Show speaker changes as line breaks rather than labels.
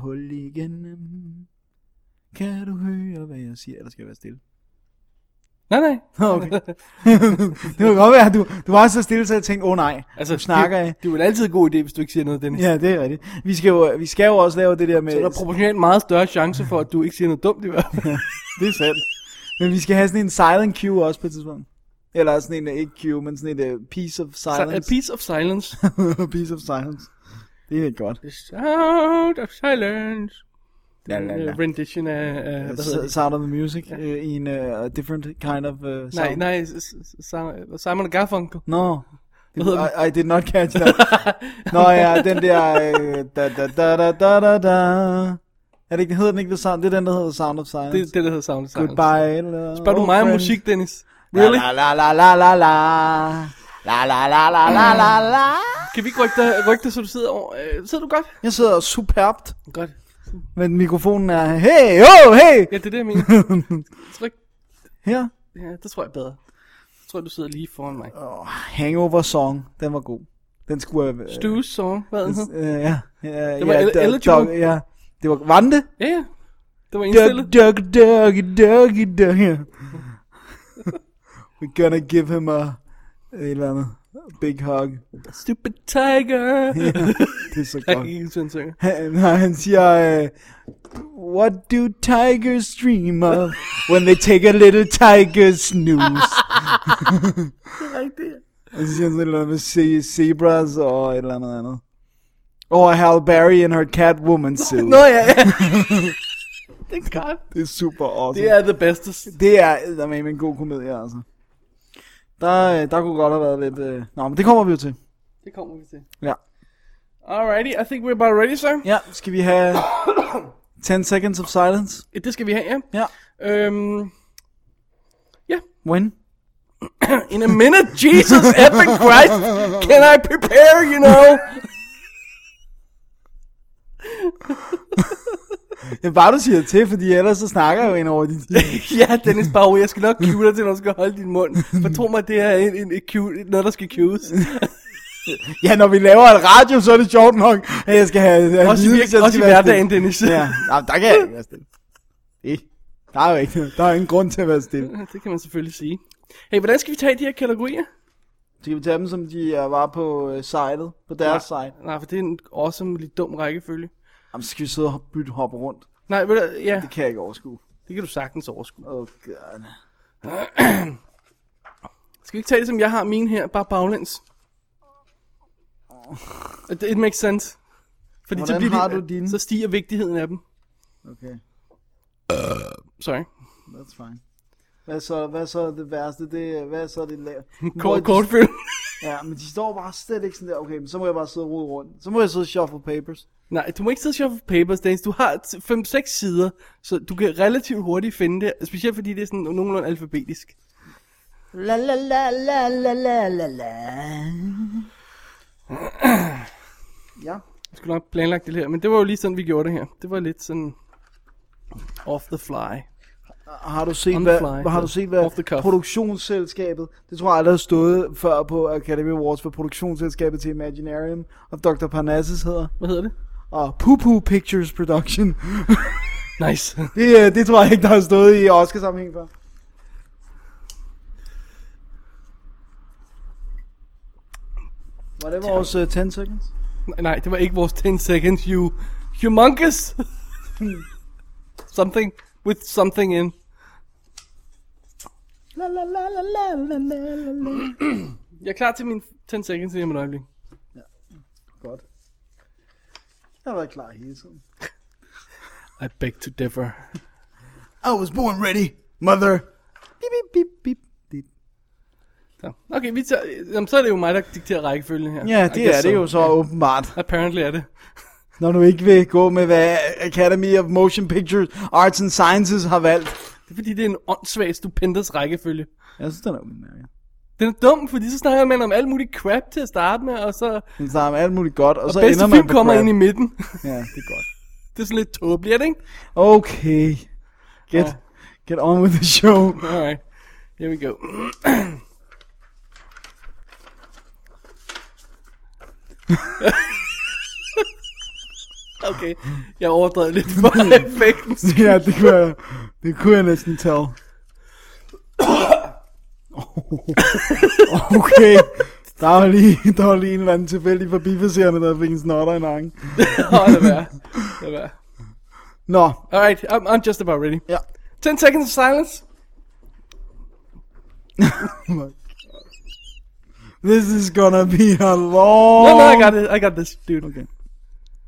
hul igennem. Kan du høre, hvad jeg siger? Eller skal jeg være stille?
Nej, nej.
Nå, Okay. det kunne godt være, at du, du var så stille, så jeg tænkte, åh oh, nej, altså, nu snakker
det,
jeg.
Det er jo en altid en god idé, hvis du ikke siger noget, Dennis.
Ja, det er rigtigt. Vi skal jo, vi skal jo også lave det der med...
Så er der proportionelt meget større chance for, at du ikke siger noget dumt i hvert fald.
Det er sandt. Men vi skal have sådan en silent cue også på et tidspunkt. Eller sådan en, ikke cue, men sådan en uh, piece of
Så, a
silence.
piece of silence.
piece of silence. Det er godt.
The sound of silence.
La, la, la.
Øh, rendition af, af hvad hedder
S-
det?
Sound of the Music uh, i en uh, different kind of uh, sound.
Nej, nej, s- s- s- Simon og Garfunkel.
No.
Hvad hedder
I, I did not catch that. Nå ja, den der... øh, Da, da, da, da, da, da, da. Er det ikke, hedder den ikke The Sound? Det er den, der hedder Sound of Silence.
Det er det, der hedder Sound of Silence.
Goodbye. Eller,
Spørg du
oh,
mig om
friend.
musik, Dennis? Really?
La la la la la la. La la la la la la la.
Kan vi ikke rykke dig, rykke dig så du sidder over? Øh, sidder du godt?
Jeg sidder superbt,
Godt.
men mikrofonen er... Hey, oh, hey!
Ja, det er det, jeg mener. Tryk.
Her.
Ja, det tror jeg er bedre. Jeg tror, du sidder lige foran mig.
Oh, hangover song. Den var god. Den skulle... Øh,
Stu's song, hvad er den hed?
Øh, ja, ja,
Det var
ja,
el-
da-
eligible.
dog- ja, det var var den det?
Ja, ja. Det var
Dug,
indstillet.
dug, dug, dug, dug, ja. We're gonna give him a... Et eller andet. Big hug.
Stupid tiger.
Det er så
Jeg
godt.
kan ikke sådan synge.
Han, nej, han siger, øh, What do tigers dream of when they take a little tiger snooze? Og så siger han sådan et eller andet med ze- zebras Oh, og et eller andet andet. Og Hal Oh, Berry in her Catwoman suit.
Nå ja, ja. det er godt.
Det er super awesome.
Det er the bestest.
det er der med en god komedie, altså. Der, øh, der kunne godt have været lidt... Øh... Nå, men det kommer vi jo til.
Det kommer vi til.
Ja.
Alrighty, I think we're about ready, sir.
Ja, skal vi have 10 seconds of silence?
Ja. Det skal vi have, ja.
Ja.
Øhm,
When?
in a minute, Jesus effing Christ, can I prepare, you know?
Det er bare, du siger til, fordi ellers så snakker jeg jo ind over din tid.
ja, Dennis Bauer, jeg skal nok cue dig til, når du skal holde din mund. For tro mig, det er en, en, en cue, noget, der skal cues.
Ja, når vi laver en radio, så er det sjovt nok, at jeg skal have... have
Også i,
viden,
virke,
hvis jeg
også i
skal være
hverdagen,
stille.
Dennis.
Ja, Nå, men der kan jeg ikke være stille. Det. Der er jo ikke, der er ingen grund til at være stille.
Det kan man selvfølgelig sige. Hey, hvordan skal vi tage de her kategorier?
Skal vi tage dem, som de øh, var på øh, sitet, på deres ja. site?
Nej, for det er en awesome, lidt dum rækkefølge.
Jamen, så skal vi sidde og hop- bytte hoppe rundt?
Nej, ved du, ja,
Det kan jeg ikke overskue.
det kan du sagtens overskue.
Åh, oh, god.
Skal vi ikke tage det, som jeg har min her, bare baglæns? It, it makes sense. Fordi
Hvordan
så, bliver
har
de,
du dine?
så stiger vigtigheden af dem.
Okay,
Sorry.
that's fine. Hvad så, hvad så er det værste? Det, er- hvad så er det lavt?
Kort, kort film.
Ja, men de står bare slet ikke sådan der. Okay, men så må jeg bare sidde og rode rundt. Så må jeg sidde og shuffle papers.
Nej, du må ikke sidde og shuffle papers, Dennis. Du har 5-6 sider, så du kan relativt hurtigt finde det. Specielt fordi det er sådan nogenlunde alfabetisk.
La la la la la la la la. ja.
Jeg skulle nok have planlagt det her, men det var jo lige sådan, vi gjorde det her. Det var lidt sådan off the fly.
Har du set,
On
hvad,
the fly,
har du
så
set, hvad
off the cuff.
produktionsselskabet, det tror jeg aldrig har stået før på Academy Awards, for produktionsselskabet til Imaginarium, og Dr. Parnassus hedder,
Hvad hedder det?
og Poo Poo Pictures Production.
Nice.
Det, øh, det tror jeg ikke, der har stået i Oscar-sammenhæng før. Var det vores uh, 10 seconds?
Nej, Nej, det var ikke vores 10 seconds, you humongous. something with something in.
La, la, la, la, la, la, la, la, la.
Jeg er klar til min 10 seconds lige om et øjeblik.
Godt. Jeg har været klar hele tiden.
I beg to differ.
I was born ready, mother. Bip, bip, bip, bip. bip.
Så. Okay, vi tager, jamen, så er det jo mig, der dikterer rækkefølgen her.
Ja,
I
det
guess
er det
so.
jo så åbenbart.
Apparently er det.
Når du ikke vil gå med, hvad Academy of Motion Pictures Arts and Sciences har valgt.
Det er fordi, det er en åndssvag stupendes rækkefølge.
Jeg synes, den er udmærket.
Den er dum, fordi så snakker man om alt muligt crap til at starte med, og så,
Den starter med alt muligt godt, og,
og
så
bedste
ender man
film
på
kommer
crap.
ind i midten.
Ja, det er godt.
det er sådan lidt tåbeligt, er det ikke?
Okay. Get,
Ja.
get on with the show.
Alright, here we go. Okay, jeg overdrev lidt for effekten.
ja, det kunne jeg, det kunne jeg næsten tell. Oh, okay, der var lige, der var lige en eller anden tilfældig forbipasserende, der fik en snotter i nakken.
Åh, lad være. Lad være.
Nå,
Alright, I'm, I'm just about ready.
ja.
10 seconds of silence.
This is gonna be a long... Oh.
No, no, I got it. I got this, dude. Okay.